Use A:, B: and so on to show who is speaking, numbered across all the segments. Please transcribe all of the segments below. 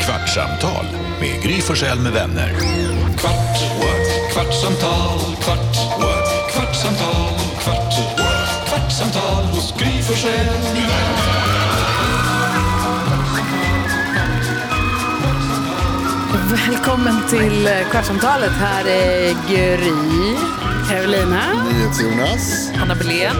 A: Kvartsamtal med Gry Forssell med vänner. Kvart, what? kvartsamtal, kvart, what? kvartsamtal, kvart, what? kvartsamtal hos Gry Forssell med vänner.
B: Välkommen till eh, Kvartsamtalet. Här är Gry. Carolina.
C: NyhetsJonas.
B: Anna Belén.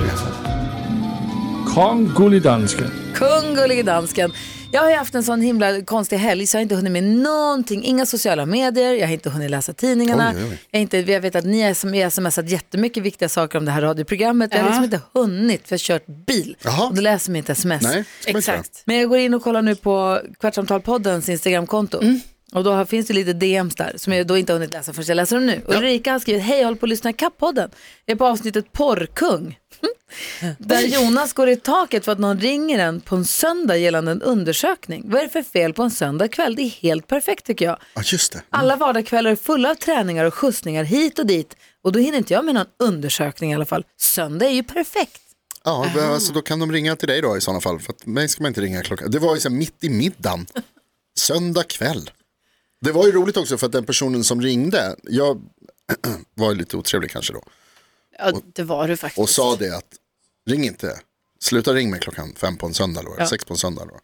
D: Kong gullig dansken.
B: Kung Gullige dansken. Jag har ju haft en sån himla konstig helg så jag har inte hunnit med någonting. Inga sociala medier, jag har inte hunnit läsa tidningarna.
C: Oj, oj, oj.
B: Jag, har inte, jag vet att ni har sm- jag har smsat jättemycket viktiga saker om det här radioprogrammet. Jag har liksom inte hunnit för jag har kört bil.
C: Jaha.
B: Och då läser man inte sms.
C: Nej, ska man inte göra.
B: Men jag går in och kollar nu på Kvartsamtalpoddens Instagramkonto. Och då har- finns det lite DMs där som jag då inte har hunnit läsa förrän jag läser dem nu. Ulrika har skrivit, hej jag håller på att lyssna ikapp podden. Jag är på avsnittet Porrkung. Där Jonas går i taket för att någon ringer en på en söndag gällande en undersökning. Vad är det för fel på en söndagkväll? Det är helt perfekt tycker jag.
C: Ja, just det.
B: Alla vardagskvällar är fulla av träningar och skjutsningar hit och dit. Och då hinner inte jag med någon undersökning i alla fall. Söndag är ju perfekt.
C: Ja, alltså, då kan de ringa till dig då i sådana fall. För att mig ska man inte ringa klockan. Det var ju så här mitt i middagen. Söndag kväll. Det var ju roligt också för att den personen som ringde, jag var ju lite otrevlig kanske då.
E: Ja, det var du faktiskt.
C: Och sa det att ring inte, sluta ring mig klockan fem på en söndag då, eller sex på en söndag då.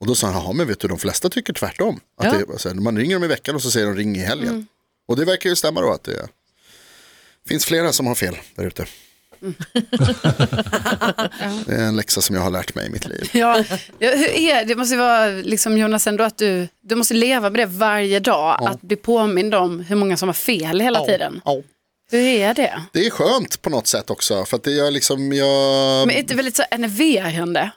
C: Och då sa han, jaha men vet du de flesta tycker tvärtom. Att det, alltså, man ringer dem i veckan och så säger de ring i helgen.
E: Mm.
C: Och det verkar ju stämma då att det finns flera som har fel där ute.
E: Mm.
C: det är en läxa som jag har lärt mig i mitt liv.
E: Ja, ja, hur är, det måste ju vara, liksom Jonas, ändå att du, du måste leva med det varje dag, att bli påmind om hur många som har fel hela tiden.
C: Ja.
E: Hur är det?
C: Det är skönt på något sätt också, för att det gör liksom, jag,
E: Men är det inte väldigt så enerverande?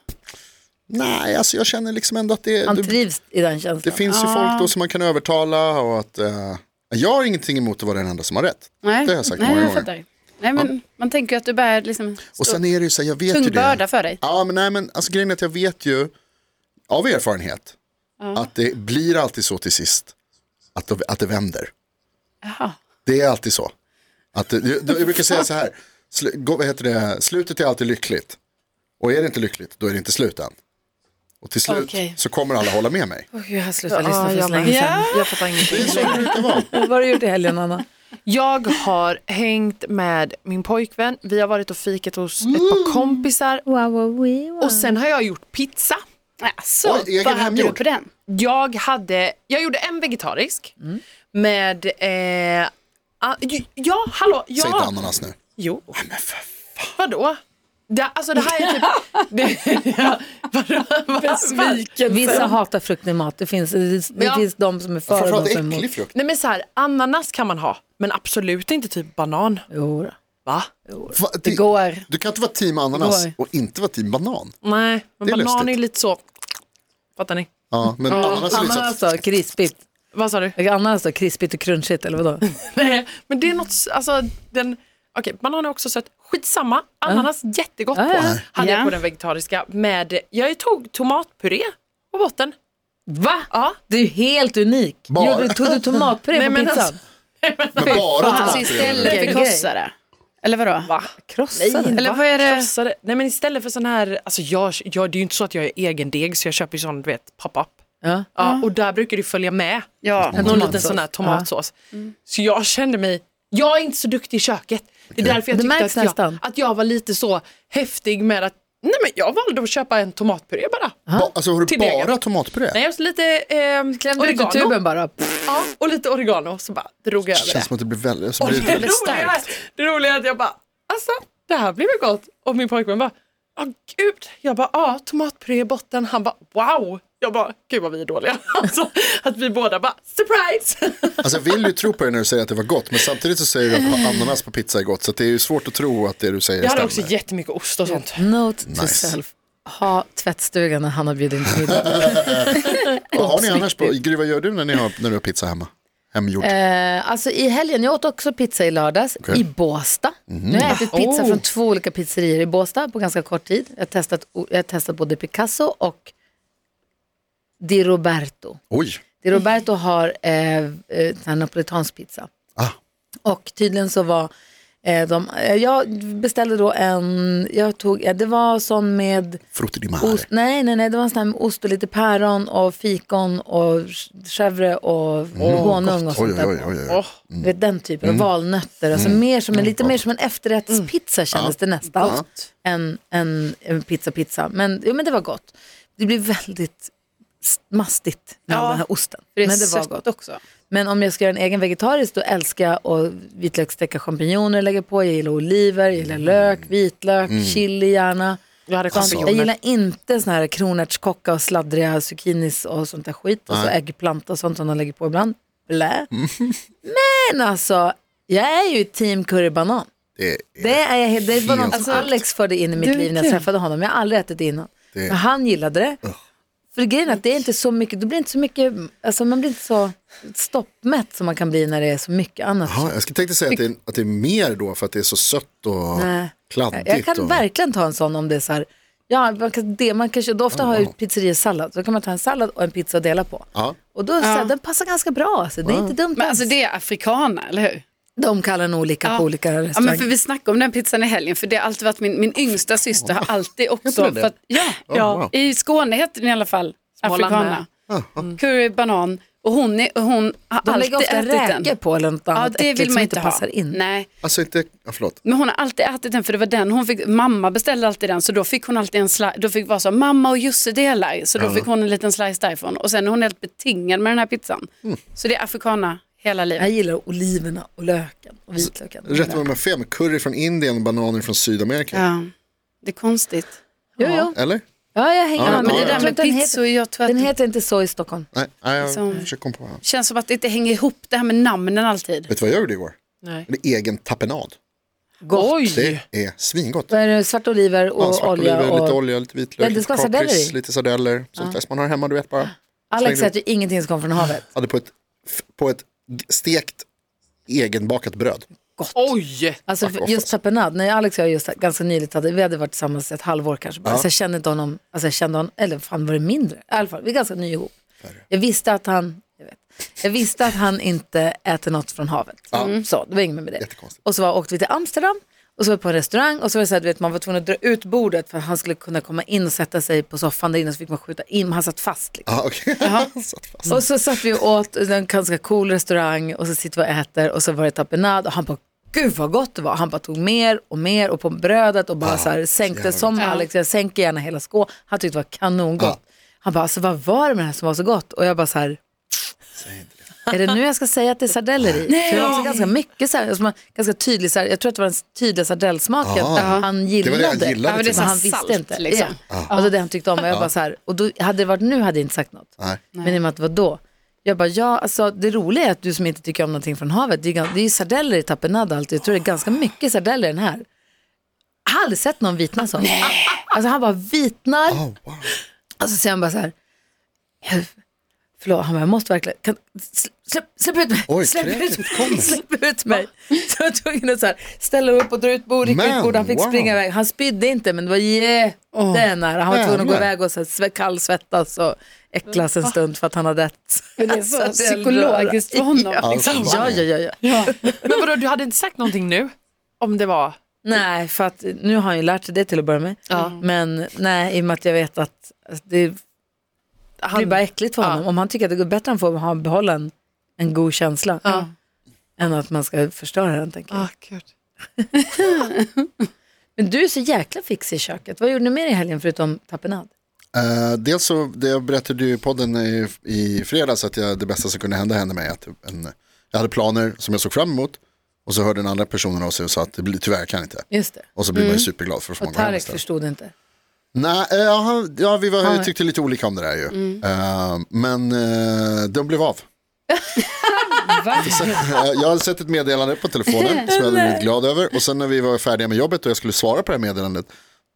C: nej alltså jag känner liksom ändå att det,
B: Han
C: det,
B: trivs i den
C: det
B: känslan.
C: finns ju folk då som man kan övertala och att eh, jag har ingenting emot att vara den enda som har rätt.
E: Nej,
C: Det har jag sagt
E: Nej,
C: många
E: jag
C: gånger.
E: fattar. Nej, men man tänker ju att du bär liksom,
C: Och
E: stor-
C: sen är det ju så här, jag vet ju
E: tung
C: det.
E: börda för dig.
C: Ja, men nej, men alltså grejen är att jag vet ju av erfarenhet att det blir alltid så till sist att det, att det vänder.
E: Jaha.
C: Det är alltid så. Att det, jag, jag brukar säga så här, sl, gå- vad heter det, slutet är alltid lyckligt. Och är det inte lyckligt, då är det inte slut än. Och till slut
E: Okej.
C: så kommer alla hålla med mig.
B: Åh, Gud, jag har slutat lyssna för så
F: jag
B: länge
F: med.
B: sedan.
F: Jag fattar
C: Det är
F: ingenting.
C: så det brukar vara.
B: Vad har du gjort i helgen Anna?
F: Jag har hängt med min pojkvän. Vi har varit och fikat hos ett
C: Mm.
F: par kompisar. Och sen har jag gjort pizza.
E: Alltså,
C: Oj, egen
E: vad hade du
C: hemgjord.
E: på den?
F: Jag, hade, jag gjorde en vegetarisk
B: Mm.
F: med... Eh, a, ju- ja, hallå. Ja.
C: Säg inte ananas nu.
F: Jo. Men för fan. Vadå? Det, alltså det här är typ... det, ja, vadå? Besviken.
B: Vissa hatar frukt i mat. Det finns, det, det
F: Ja.
B: finns de som är för och
C: Framförallt
B: de som är emot.
C: äcklig frukt.
F: Nej men så här, ananas kan man ha, men absolut inte typ banan.
B: Jo, då.
F: Va?
C: Va, det,
E: går.
C: du kan inte vara team ananas
E: Går.
C: och inte vara team banan.
F: Nej, men
C: Det är
F: banan är
C: lustigt.
F: ju lite så... Fattar ni?
C: Ja, men ananas är liksom...
B: Ananas då, krispigt.
F: Vad sa du?
B: Ananas då, krispigt och crunchigt eller vadå?
F: Nej, men det är något, alltså den, okej banan är också sött, skitsamma, ananas jättegott på.
B: ja.
F: Hade
E: Ja.
F: jag på den vegetariska med, jag tog tomatpuré på botten.
B: Va?
F: Ja.
B: Du är ju helt unik.
C: Bara.
B: Gjorde, tog du tomatpuré
F: Nej,
B: på
F: men
B: pizzan?
F: alltså-
C: Men bara
E: Alltså
C: tomatpuré.
E: istället för
B: grej.
E: krossare? Eller vadå?
F: Va?
B: Krossade?
E: Eller vad är det?
F: Krossade. Nej men istället för sån här, alltså jag, jag, det är ju inte så att jag är egen deg så jag köper ju sån du vet pop-up.
B: Ja.
F: Ja, Och där brukar det följa med
E: Ja,
F: någon liten
B: tomatsås.
F: sån här tomatsås.
B: Mm.
F: Så jag kände mig, jag är inte så duktig i köket. Det är därför jag
B: Det
F: tyckte
B: märks
F: att jag,
B: nästan.
F: att jag var lite så häftig med att, nej men jag valde att köpa en tomatpuré bara.
C: Ba, alltså har du
F: Till
C: bara
F: egen.
C: tomatpuré?
F: Nej, och så lite ehm,
B: Klämde du ut i
F: oregano.
B: tuben bara?
F: Ja, och lite oregano. Så bara drog jag
C: Det känns
F: över det.
C: som att det blir väldigt... Så
F: Och
C: blir
F: det,
C: det,
F: roliga, är- det roliga är att jag bara, alltså det här blev ju gott. Och min pojkvän bara, ja gud. Jag bara, ja tomatpuré i botten. Han bara, wow. Jag bara, gud vad vi är dåliga. Alltså att vi båda bara, surprise.
C: alltså jag vill ju tro på dig när du säger att det var gott, men samtidigt så säger du att ananas på pizza är gott, så att det är ju svårt att tro att det du säger
F: Jag hade
C: stämmer.
F: också jättemycket ost och sånt.
B: Note to
C: Nice.
B: self. Ha tvättstugan när han har bjudit in till middag.
C: Vad har ni annars på, Gry, vad gör du när, ni har, när du har pizza hemma? Hemgjord.
B: Eh, alltså i helgen, jag åt också pizza i lördags i Båstad. Nu har jag ätit pizza
F: Oh.
B: från två olika pizzerior i Båstad på ganska kort tid. Jag har testat, jag har testat både Picasso och Di Roberto.
C: Oj,
B: Di Roberto har eh, eh, sån här napolitansk pizza.
C: ah,
B: Och tydligen så var Eh, de, eh, jag beställde då en, jag tog, ja, det var sån med
C: Frutti di mare.
B: ost, nej, nej, nej, det var en sån här med ost och lite päron och fikon och chèvre och honung och
C: Mm. Oj,
B: sånt
C: oj,
B: där.
C: oj, Mm. oj,
F: Mm.
C: oj.
B: Du vet, den typen, och valnötter. Alltså mer som en,
C: Mm.
B: lite mer som en efterrättspizza kändes det nästan. Än en, en pizza pizza. Men, jo, men det var gott. Det blev väldigt s- mastigt med
E: Ja,
B: all den här osten.
E: För det är
B: men det var
E: sött
B: gott.
E: också.
B: Men om jag ska göra en egen vegetarisk då älskar jag att vitlökssteka champinjoner lägga på. Jag gillar oliver, jag gillar lök, vitlök, chili gärna.
F: Jag hade
B: Sånt. Jag
F: champinjoner.
B: gillar inte såna här kronärtskocka och sladdriga zucchinis och sånt där skit. Och så äggplanta och sånt som de lägger på ibland. Blä. Men alltså, jag är ju team currybanan.
C: Det är,
B: Det, är jag, helt- det var något
C: Helt
B: som Alex förde in i mitt liv när jag träffade honom. Jag har aldrig ätit det innan.
C: Det-
B: Men han gillade det. För grejen är att det är inte så mycket, det blir inte så mycket, alltså man blir inte så stoppmätt som man kan bli när det är så mycket annat.
C: Jaha, jag skulle tänkte säga att det, är, att det är mer då för att det är så sött och
B: Nej.
C: kladdigt.
B: Jag kan
C: och,
B: verkligen ta en sån om det är så här, ja, man kan, det, man kanske, då ofta har jag ju pizzeriasallad, så kan man ta en sallad och en pizza och dela på.
C: ja,
B: Och då, så här, den passar ganska bra, alltså. det är inte dumt.
E: Men
B: alls.
E: alltså det är afrikana, eller hur?
B: De kallar den olika på olika
E: Ja,
B: restauranger.
E: men för vi snackade om den pizzan i helgen, för det har alltid varit min, min yngsta syster har alltid också,
C: Heter den det?
E: för att, ja,
C: Ja, wow.
E: i Skåne heter den i alla fall,
F: Småland
E: afrikana. Curry, banan och hon, är, och hon har
B: de
E: alltid
B: lägger ofta
E: ätit den.
B: räkor på eller något
E: Ja,
B: annat
E: det vill
B: äckligt
E: man
B: som
E: inte
B: inte
E: ha.
B: passar in.
E: Nej,
C: alltså inte, ja, förlåt.
E: men hon har alltid ätit den för det var den hon fick, mamma beställde alltid den så då fick hon alltid en slice, då fick vara så mamma och Jussi delar, så då fick hon en liten slice därifrån och sen är hon helt betingad med den här pizzan.
C: Mm.
E: Så det är afrikana hela
B: Jag
E: livet.
B: gillar oliverna och löken och vitlöken.
C: Rätt mig om jag har fel, men curry från Indien och bananer från Sydamerika.
E: Ja, det är konstigt.
B: Jo, jo.
C: Eller?
B: Ja, jag hänger
C: Ja,
B: med.
E: Men det
B: Jag
E: där
B: tror
E: med
B: att den, heter,
E: pizzor, jag tror att
B: den heter inte så i Stockholm.
C: Nej, nej jag
E: Som-
C: försöker komma på. vad han-
E: Känns som att det inte hänger ihop det här med namnen alltid.
C: Vet du vad jag gjorde igår?
F: Nej.
C: En egen tapenad.
B: Gott.
F: Oj!
C: Det är svingott.
B: Vad är det? Svarta oliver och
C: Ja, svartoliver,
B: olja. Och...
C: Lite olja, lite vitlök,
B: Ja, det
C: lite
B: ska vara sardeller
C: kapris,
B: i.
C: lite sardeller. Sånt där som man har hemma, du vet bara.
B: Alex
C: Släng
B: äter ju ingenting som kommer från havet.
C: Hade på ett, f- på ett g- stekt egenbakat bröd.
F: Oj!
B: Alltså för- just tapenad, när Alex och jag just ganska nyligt hade, vi hade varit tillsammans ett halvår kanske. bara. Så jag kände inte honom, alltså jag kände honom, eller fan var det mindre? I alla fall, vi är ganska nya ihop. Jag visste att han, jag vet, jag visste att han inte äter något från havet. Mm. Så, det var inget med det.
C: Jättekonstigt.
B: Och så var, åkte vi till Amsterdam och så var vi på en restaurang och så var det så här, du vet, man var tvungen att dra ut bordet för att han skulle kunna komma in och sätta sig på soffan där inne så fick man skjuta in, men han satt fast. Liksom.
C: Ja, okej. Satt fast.
B: Och så satt vi och åt i en ganska cool restaurang och så sitter vi och äter och så var det tapenad och han bara Gud vad gott det var. Han bara tog mer och mer och på brödet och bara så här sänkte som Alex, jag sänker gärna hela skå. Han tyckte det var kanongott. Han bara, alltså vad var det med det här som var så gott? Och jag bara så här, är det nu jag ska säga att det är sardeller i? För Det var också ganska mycket så här, alltså man, ganska tydlig, så här, jag tror att det var den tydliga sardellsmaken
C: Ja.
B: han
C: Det var
B: gillade.
C: det han gillade typ.
E: Ja, men det är
B: men
E: så
B: han
E: salt,
B: visste inte.
E: liksom.
B: Ja. Alltså det han tyckte om. Och, jag bara så här, och då, hade det varit nu hade jag inte sagt något.
C: Nej.
B: Men i och med att det var då. Jag bara, ja, alltså, det roliga är att du som inte tycker om någonting från havet, det är, ju gan- det är ju sardeller i tapenade alltid. Jag tror det är ganska mycket sardeller i den här. Jag har aldrig sett någon vitna så. Alltså han bara vitnar.
C: Oh, wow.
B: Och Alltså, så säger han bara så här, "Jag- förlåt, han bara, jag måste verkligen, kan, sl- släpp, släpp ut mig,
C: Oj,
B: släpp, ut
C: kräket
B: mig
C: kommer.
B: släpp ut mig. Så jag var tvungen att så här, ställa upp och dra ut bordet, rycka
C: Men,
B: ut bordet, han fick
C: wow.
B: springa iväg. Han spydde inte men det var jättenära, han var tvungen att gå
C: Jävlar.
B: iväg och så här, sve- kallsvettas och äcklas en stund för att han Alltså, hade ätit.
E: Men det är så psykologiskt för honom.
B: Ja,
C: Alltså, wow.
B: ja, ja, ja, ja.
F: Men vadå, du hade inte sagt någonting nu? Om det var...
B: Nej, för att nu har han ju lärt sig det till att börja med. Men nej, i och med att jag vet att alltså, det han, blir bara äckligt för honom. Om han tycker att det går bättre än får han behålla en, en god känsla. Än att man ska förstöra den, tänker jag.
F: Ah, gud.
B: Men du är så jäkla fix i köket. Vad gjorde ni mer i helgen förutom tapenad?
C: Eh, dels så, det jag berättade ju i podden i, i fredags att jag, det bästa som kunde hända hände mig. Att en, jag hade planer som jag såg fram emot och så hörde den andra personen av sig och sa att det blir, tyvärr kan jag inte.
B: Just det.
C: Och så blir man ju superglad för att få
B: Mm. Och
C: gå hem
B: Tarek
C: istället.
B: förstod inte.
C: Nej, eh, ja, ja, vi var, tyckte lite olika om det där ju.
B: Mm.
C: Eh, men eh, de blev av. Eh, jag hade sett ett meddelande på telefonen som jag hade blivit glad över. Och sen när vi var färdiga med jobbet och jag skulle svara på det här meddelandet.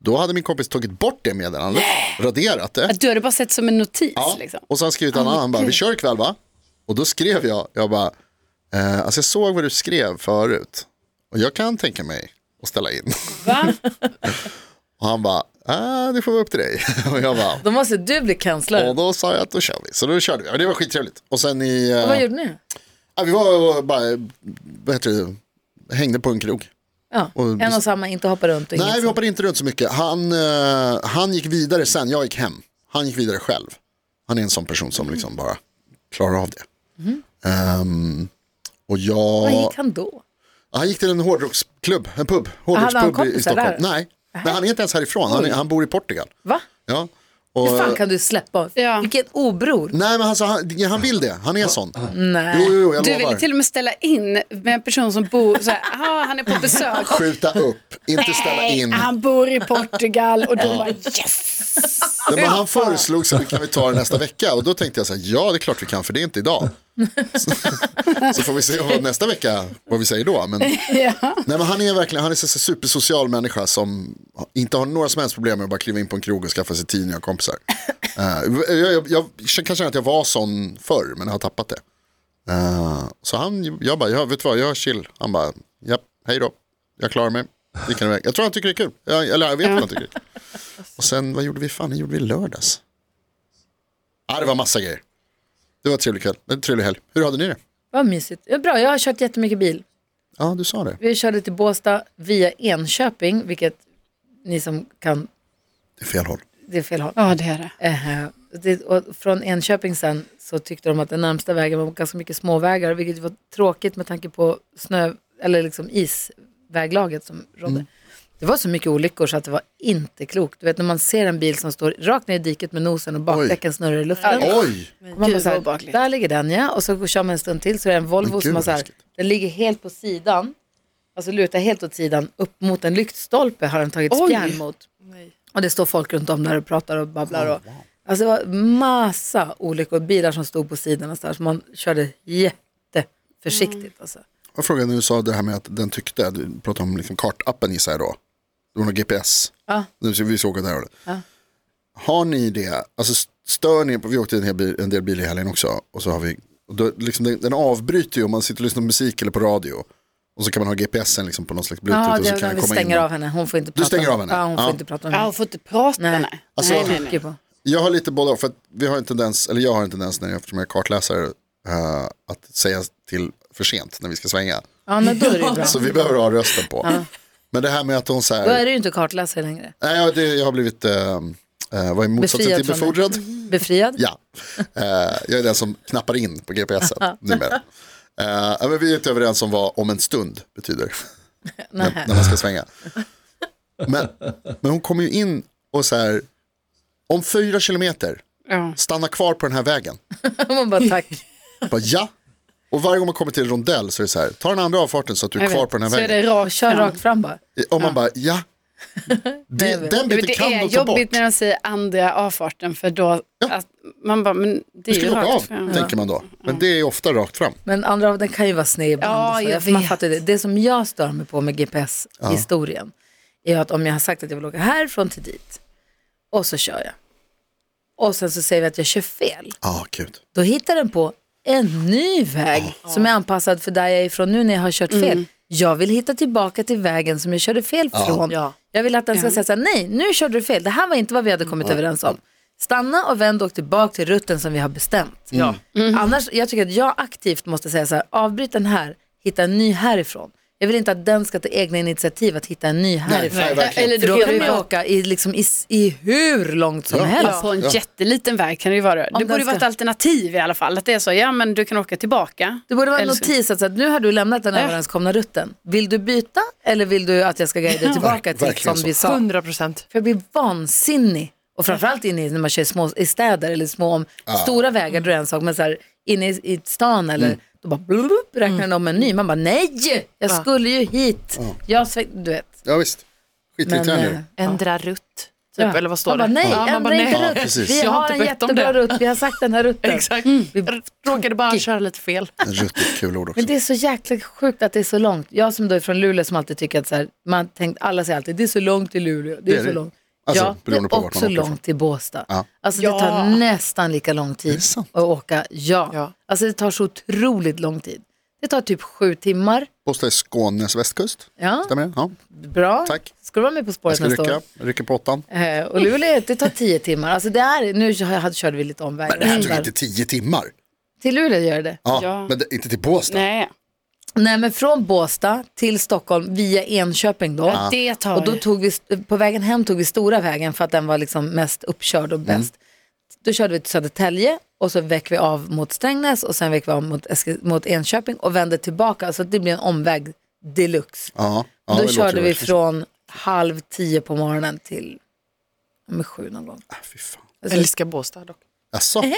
C: Då hade min kompis tagit bort det meddelandet, raderat det.
E: Att du hade bara sett som en notis.
C: Ja,
E: Liksom.
C: Och sen skrev han, han bara, vi kör ikväll va? Och då skrev jag, jag bara, eh, alltså jag såg vad du skrev förut. Och jag kan tänka mig att ställa in.
E: Va?
C: Och han bara, ah, det får vara upp till dig. Och jag bara,
B: Då måste du bli kansler.
C: och då sa jag att då kör vi. Så då körde vi. Ja, det var skittrevligt. Och sen i... eh,
B: Vad gjorde ni?
C: ja, vi var och bara, vad heter det, hängde på en krog.
B: Ja,
C: Och-
B: en och samma, inte hoppa runt. Och
C: Nej,
B: inget
C: vi hoppade inte runt så mycket. Han, eh, han gick vidare sen, jag gick hem. Han gick vidare själv. Han är en sån person som liksom bara klarar av det. Ehm, och jag...
B: Mm-hmm. Vad gick han då?
C: Han gick till en hårdrocksklubb, en pub,
B: Hade han
C: hårdrockspub i,
B: kompisar
C: i Stockholm.
B: där?
C: Nej, men han är inte ens härifrån, han, är, han bor i Portugal.
B: Va?
C: Ja. Och,
B: Hur fan kan du släppa?
E: Ja.
B: Vilken obror.
C: Nej, men alltså, han, han vill det, han är sån.
B: Nej.
C: Jo, jo, jag
E: Du
C: lovar.
E: ville till och med ställa in med en person som bor så här, ah, han är på besök.
C: Skjuta upp, inte ställa in.
E: Han bor i Portugal och då bara yes.
C: Nej, men han föreslog så här, kan vi ta det nästa vecka? Och då tänkte jag så här, ja det är klart vi kan för det är inte idag. Så, så får vi se vad, nästa vecka vad vi säger då. Men, nej, men han är verkligen han är en supersocial människa som inte har några som helst problem med att bara kliva in på en krog och skaffa sig tidningar och kompisar. Eh, jag, jag, jag kan känna att jag var sån förr men jag har tappat det. Eh, så han, jag bara, ja, vet du vad, jag har chill. Han bara, ja, hej då, jag klarar mig. Det kan jag, jag tror han tycker det är kul, jag, eller jag vet att han tycker det är kul. Och sen, vad gjorde vi? Fan, det gjorde vi i lördags. Ja, det var massa grejer. Det var en trevlig kväll, en trevlig helg. Hur hade ni det?
B: Vad mysigt. Ja, Bra, jag har kört jättemycket bil.
C: Ja, du sa det.
B: Vi körde till Båstad via Enköping, vilket ni som kan,
C: Det är fel håll.
B: det är fel håll.
E: Ja, det är det.
B: Eh, det, och från Enköping sen så tyckte de att den närmsta vägen var ganska mycket småvägar, vilket var tråkigt med tanke på snö, eller liksom isväglaget som rådde. Det var så mycket olyckor så att det var inte klokt. Du vet när man ser en bil som står rakt ner i diket med nosen och bakdäcken snurrar i luften.
C: Oj!
B: Och Man bara
E: Gud,
B: så
E: vad
B: här,
E: obehagligt.
B: där ligger den ja, och så kör man en stund till så är det en Volvo
C: Men gud,
B: som har
C: vad
B: så här,
C: läskigt.
B: den ligger helt på sidan, alltså lutar helt åt sidan, upp mot en lyktstolpe har den tagit
E: Oj.
B: spjärn mot. Och det står folk runt om där och pratar och babblar.
C: Oh,
B: Och, alltså det var massa olyckor, bilar som stod på sidorna så, här, så man körde jätteförsiktigt.
E: Mm.
B: Alltså.
C: Jag frågade när du sa det här med att den tyckte, du pratade om liksom kartappen gissar jag då. Det var någon GPS.
B: Ja.
C: Nu ska vi såg det här. Har ni det, alltså stör ni, på- vi åkte en, hel bil, en del bil i helgen också. Och så har vi, och då, liksom, den, den avbryter ju om man sitter och lyssnar på musik eller på radio. Och så kan man ha GPSen liksom, på någon slags bluetooth
B: Ja,
C: och så
B: det,
C: kan
B: när
C: den
B: vi
C: komma in.
B: stänger av henne, hon får inte
C: Du
B: prata.
C: stänger
B: om-
C: av henne?
B: Ja, hon får
C: Ja.
B: inte prata om
E: Ja,
B: henne.
E: hon får inte prata.
B: Nej.
E: Nej.
C: Alltså-
E: nej, nej, nej.
B: På.
C: Jag har lite både och, för att vi har en tendens, eller jag har en tendens när jag, eftersom jag är kartläsare, eh, att säga till för sent när vi ska svänga.
B: Ja, men då är det ju bra.
C: Så vi behöver ha rösten på. Men det här med att hon så här,
B: Då är det ju inte kartläsare längre.
C: nej jag, det, jag har blivit, eh, eh, vad är motsatsen
B: Befriad
C: till
B: från det.
C: befordrad?
B: Befriad?
C: Ja, eh, jag är den som knappar in på GPSen numera. Eh, ja, men vi är inte överens om vad om en stund betyder när, när man ska svänga. Men, men hon kommer ju in och så här, om fyra kilometer,
E: Ja.
C: stanna kvar på den här vägen.
B: Man bara tack.
C: Jag bara, ja. Och varje gång man kommer till en rondell så är det så här, ta den andra avfarten så att du är
E: Jag
C: kvar
E: vet.
C: på den här
E: Så är
C: vägen.
E: det rakt
B: Kör
E: fram.
B: rakt fram bara.
C: Och man bara, ja. Det, den
E: Ja, men
C: biten
E: Det
C: kan
E: är
C: de ta bort.
E: jobbigt när de säger andra avfarten för då, att man bara, men det
C: Du
E: är ju
C: skulle åka av,
E: rakt fram.
C: tänker man då. Men det är ofta rakt fram.
B: Men andra av den kan ju vara sned ibland.
E: Ja,
B: och så.
E: jag
B: För man
E: vet.
B: fattar ju det. det som jag stör mig på med GPS-historien är att om jag har sagt att jag vill åka härifrån till dit och så kör jag. Och sen så säger vi att jag kör fel.
C: Ja, ah, gud.
B: Då hittar den på en ny väg som är anpassad för där jag är ifrån nu när jag har kört fel. Jag vill hitta tillbaka till vägen som jag körde fel från.
F: Ja.
B: Jag vill att den ska säga så här, nej, nu körde du fel. Det här var inte vad vi hade kommit överens om. Stanna och vänd och åk tillbaka till rutten som vi har bestämt. Mm.
F: Ja.
B: Annars, jag tycker att jag aktivt måste säga så här, avbryt den här, hitta en ny härifrån. Jag vill inte att den ska ta egna initiativ att hitta en ny härifrån.
C: nej, verkligen.
E: Eller
B: För
E: du
B: då kan vi
E: kan
B: åka i, liksom, i, i hur långt som helst.
E: Alltså, på en jätteliten väg kan det ju vara. Det
B: den
E: borde ju vara ett
B: ska-
E: alternativ i alla fall. Att det är så, ja men du kan åka tillbaka.
B: Det borde vara en
E: Eller så-
B: notis att så här, nu har du lämnat den
E: Ja.
B: överenskomna rutten. Vill du byta eller vill du att jag ska guida dig tillbaka till
C: verkligen
B: som vi sa?
F: 100 procent.
B: För jag blir vansinnig. Och framförallt inne i- när man kör i små, i städer eller små, om, stora vägar då är det en sak, men så här, inne i, i stan eller
C: Mm.
B: då bara blup, räknar den om en ny. Man bara nej, jag skulle ju hit. Jag sväng, du vet.
C: Ja, visst.
B: Men,
C: Skitirriterande ju.
B: eh,
F: Ändra rutt. Typ,
B: ja.
F: eller vad står
B: man
F: det?
B: Bara, nej,
F: Ja, man
B: ändra
F: bara,
B: inte
F: nej.
B: rutt.
C: precis.
B: Vi
F: Jag har
B: har,
F: inte
B: en
F: bett om
B: jättebra
F: det.
B: rutt, vi har sagt den här rutten.
F: Exakt. Jag Råkade bara köra lite fel.
C: En Ruttigt kul ord också.
B: Men det är så jäkla sjukt att det är så långt. Jag som då är från Luleå som alltid tycker att så här, man tänkt, alla säger alltid det är så långt till Luleå, det är,
C: Det är
B: så
C: det.
B: långt.
C: Alltså,
B: ja, det
C: beroende på
B: är
C: vart man
B: också
C: åker
B: långt
C: ifrån.
B: till Båstad.
C: Ja.
B: Alltså det tar nästan lika lång tid att
C: sant?
B: åka. Ja.
F: Ja.
B: alltså det tar så otroligt lång tid. Det tar typ sju timmar.
C: Båstad är Skånes västkust.
B: Ja,
C: Stämmer det? Ja.
B: bra.
C: Tack.
B: Ska du vara med På
C: Jag
B: spåret
C: ska
B: nästa
C: rycka,
B: år?
C: jag rycker på åttan.
B: Eh, och Luleå, det tar tio timmar. Alltså det är, nu har jag- körde vi lite omvägar.
C: Men det här tog
B: Där.
C: inte tio timmar.
B: Till Luleå gör det.
C: Ja,
E: Ja.
C: Men det, inte till Båstad.
E: Nej.
B: Nej men från Båstad till Stockholm via Enköping då.
E: Det tar
B: Och då tog vi, st- på vägen hem tog vi stora vägen för att den var liksom mest uppkörd och
C: Mm.
B: bäst. Då körde vi till Södertälje och så väck vi av mot Strängnäs och sen väck vi av mot, Eske, mot Enköping och vände tillbaka. Så att det blir en omväg deluxe.
C: Ja, ja,
B: då
C: det låter
B: körde vi
C: verkligen-
B: från halv tio på morgonen till ja, men sju någon gång. Alltså,
C: Ah, fy fan.
F: Jag älskar Båstad dock.
C: Jaså?
B: Båstad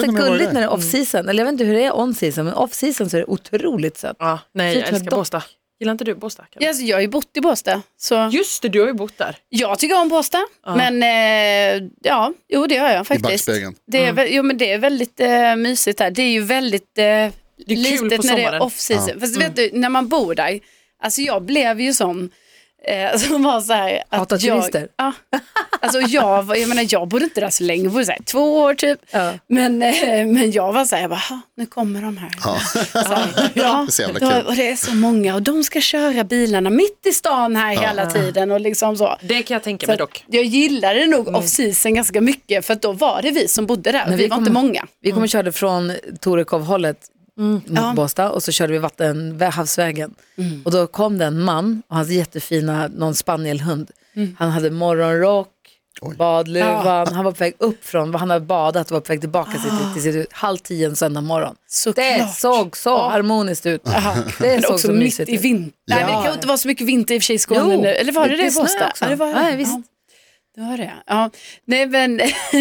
C: Vet
B: är
C: ni vad det
B: gulligt
C: är?
B: Mm, när det är off season. Eller jag vet inte hur det är on season men off season så är det otroligt sött.
F: Ja, nej, jag
B: Fint med
F: älskar
B: dock.
F: Båstad. Gillar inte du Båstad? Karin?
E: Ja, alltså, jag har ju bott i Båstad, så
F: Just det, du har ju bott där.
E: jag tycker om Båstad. Men eh, ja, jo det har jag faktiskt.
C: backspegeln.
E: Det är, väl- jo, men det är väldigt eh, mysigt där. Det är ju väldigt eh,
F: kul
E: litet
F: på
E: när det är
F: sommaren.
E: off season. Fast vet du, när man bor där, alltså jag blev ju sån eh, som var så här. Att
B: Hatar turister.
E: jag, ja, alltså jag, var, jag menar jag bodde inte där så länge, jag bodde så här, två år typ.
B: Ja.
E: Men, eh, men jag var så här, jag bara, "Ha, nu kommer de här.
C: Ja.
E: Så här, ja,
C: är så jävla
E: det var-
C: kul.
E: och det är så många och de ska köra bilarna mitt i stan här hela tiden och liksom så.
F: Det kan jag tänka
E: Så
F: mig
E: att
F: dock.
E: jag gillade nog off season ganska mycket för att då var det vi som bodde där.
B: Men
E: vi,
B: vi
E: var
B: kom-
E: inte många.
B: Vi kommer körde från Torekov-hållet mot
E: Mm. Ja. Mm.
B: Båstad och så körde vi vatten, vä- havsvägen. Och då kom det en man och hans jättefina, någon spanielhund.
E: Mm.
B: Han hade morgonrock, badluvan, han var på väg upp från, han hade badat och var på väg tillbaka till, till sitt hus, halv tio en söndag morgon.
E: Ah. Såklart.
B: Det såg så harmoniskt ut. Det
E: Men
B: såg
E: också
B: så
E: mitt
B: mysigt
E: i
B: ut.
E: vinter. Nej, det kan ju inte vara så mycket vinter i och för sig i Skåne
B: Jo,
E: nu. Eller var det det i
B: det snöar
E: Båstad?
B: också.
E: Ja, det var det.
B: Nej, visst.
E: Ja, det var det. Ja. Nej, men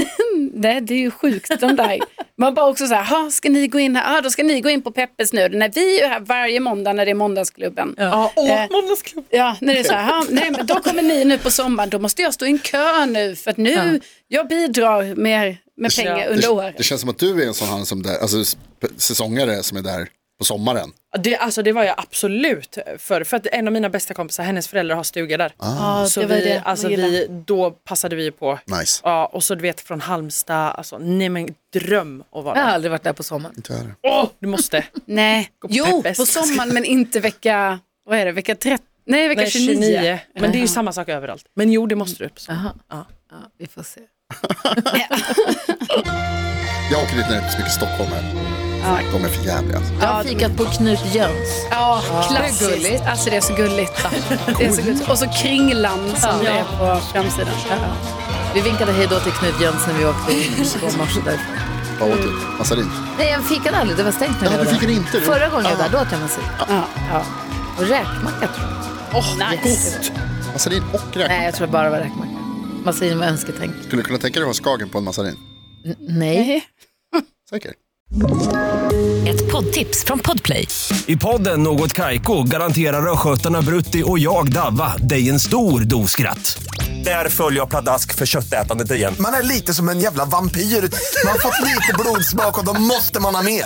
E: nej, det är ju sjukt de där. Man bara också så här, "Ha, ska ni gå in här? Ja, då ska ni gå in på Peppes nu. Nej, vi är ju här varje måndag när det är måndagsklubben.
F: Ja, åh,
E: Eh,
F: måndagsklubb.
E: Ja, när det är så här, "Ha, nej men då kommer ni nu på sommaren, då måste jag stå i en kö nu för att nu, jag bidrar med, med pengar
F: Ja.
E: under
C: Det,
E: året.
C: det känns som att du är en sån här som där, alltså, sp- säsongare som är där på sommaren.
F: Ja, Det, alltså, det var jag absolut för För att en av mina bästa kompisar, hennes föräldrar har stuga där.
E: Ja,
F: Så
E: det var
F: vi,
E: det.
F: Alltså,
E: Jag gillar.
F: vi, då passade vi på.
C: Nice.
F: Ja, och så du vet från Halmstad, alltså, nej men dröm att vara
B: Jag har
F: där.
B: aldrig varit där på sommaren.
C: Inte jag heller.
F: Åh, du måste.
E: Nej,
F: på
E: jo,
F: Peppes.
E: på sommaren men inte vecka, vad är det, vecka 30? Nej, vecka
F: Nej,
E: 29.
F: 29. Men det är ju samma sak överallt. Men jo, det måste du.
B: Jaha. Ja, vi får se.
C: Jag åker dit när det är så mycket stockholmare. De är för jävliga. Alltså.
B: Jag har fikat på Knut Jöns.
E: Ja,
B: Det är
E: klassiskt.
B: gulligt.
E: alltså det är så gulligt. Det är så gulligt. Och så kringlan som det är på framsidan. Ja.
B: Vi vinkade hej då till Knut Jönsson när vi åkte in på morse därifrån.
C: Vad åt du? Massarin?
B: Nej, jag fikade aldrig. Det var stängt när
C: Ja,
B: jag var
C: du fikade
B: där.
C: inte, du.
B: Förra gången jag var där, då åt jag massin.
E: Ja.
B: Och räkmacka tror jag.
E: nice.
C: Massarin och räkor.
B: Nej, jag tror bara det var räkmacka. Massin var önsketänk.
C: Skulle du kunna tänka dig att ha Skagen på en massarin?
B: Nej.
C: Säker?
D: Ett poddtips från Podplay.
G: I podden Något Kaiko garanterar östgötarna Brutti och jag, Davva, dig en stor dos skratt. Där följer jag pladask för köttätandet igen.
H: Man är lite som en jävla vampyr. Man har fått lite blodsmak och då måste man ha mer.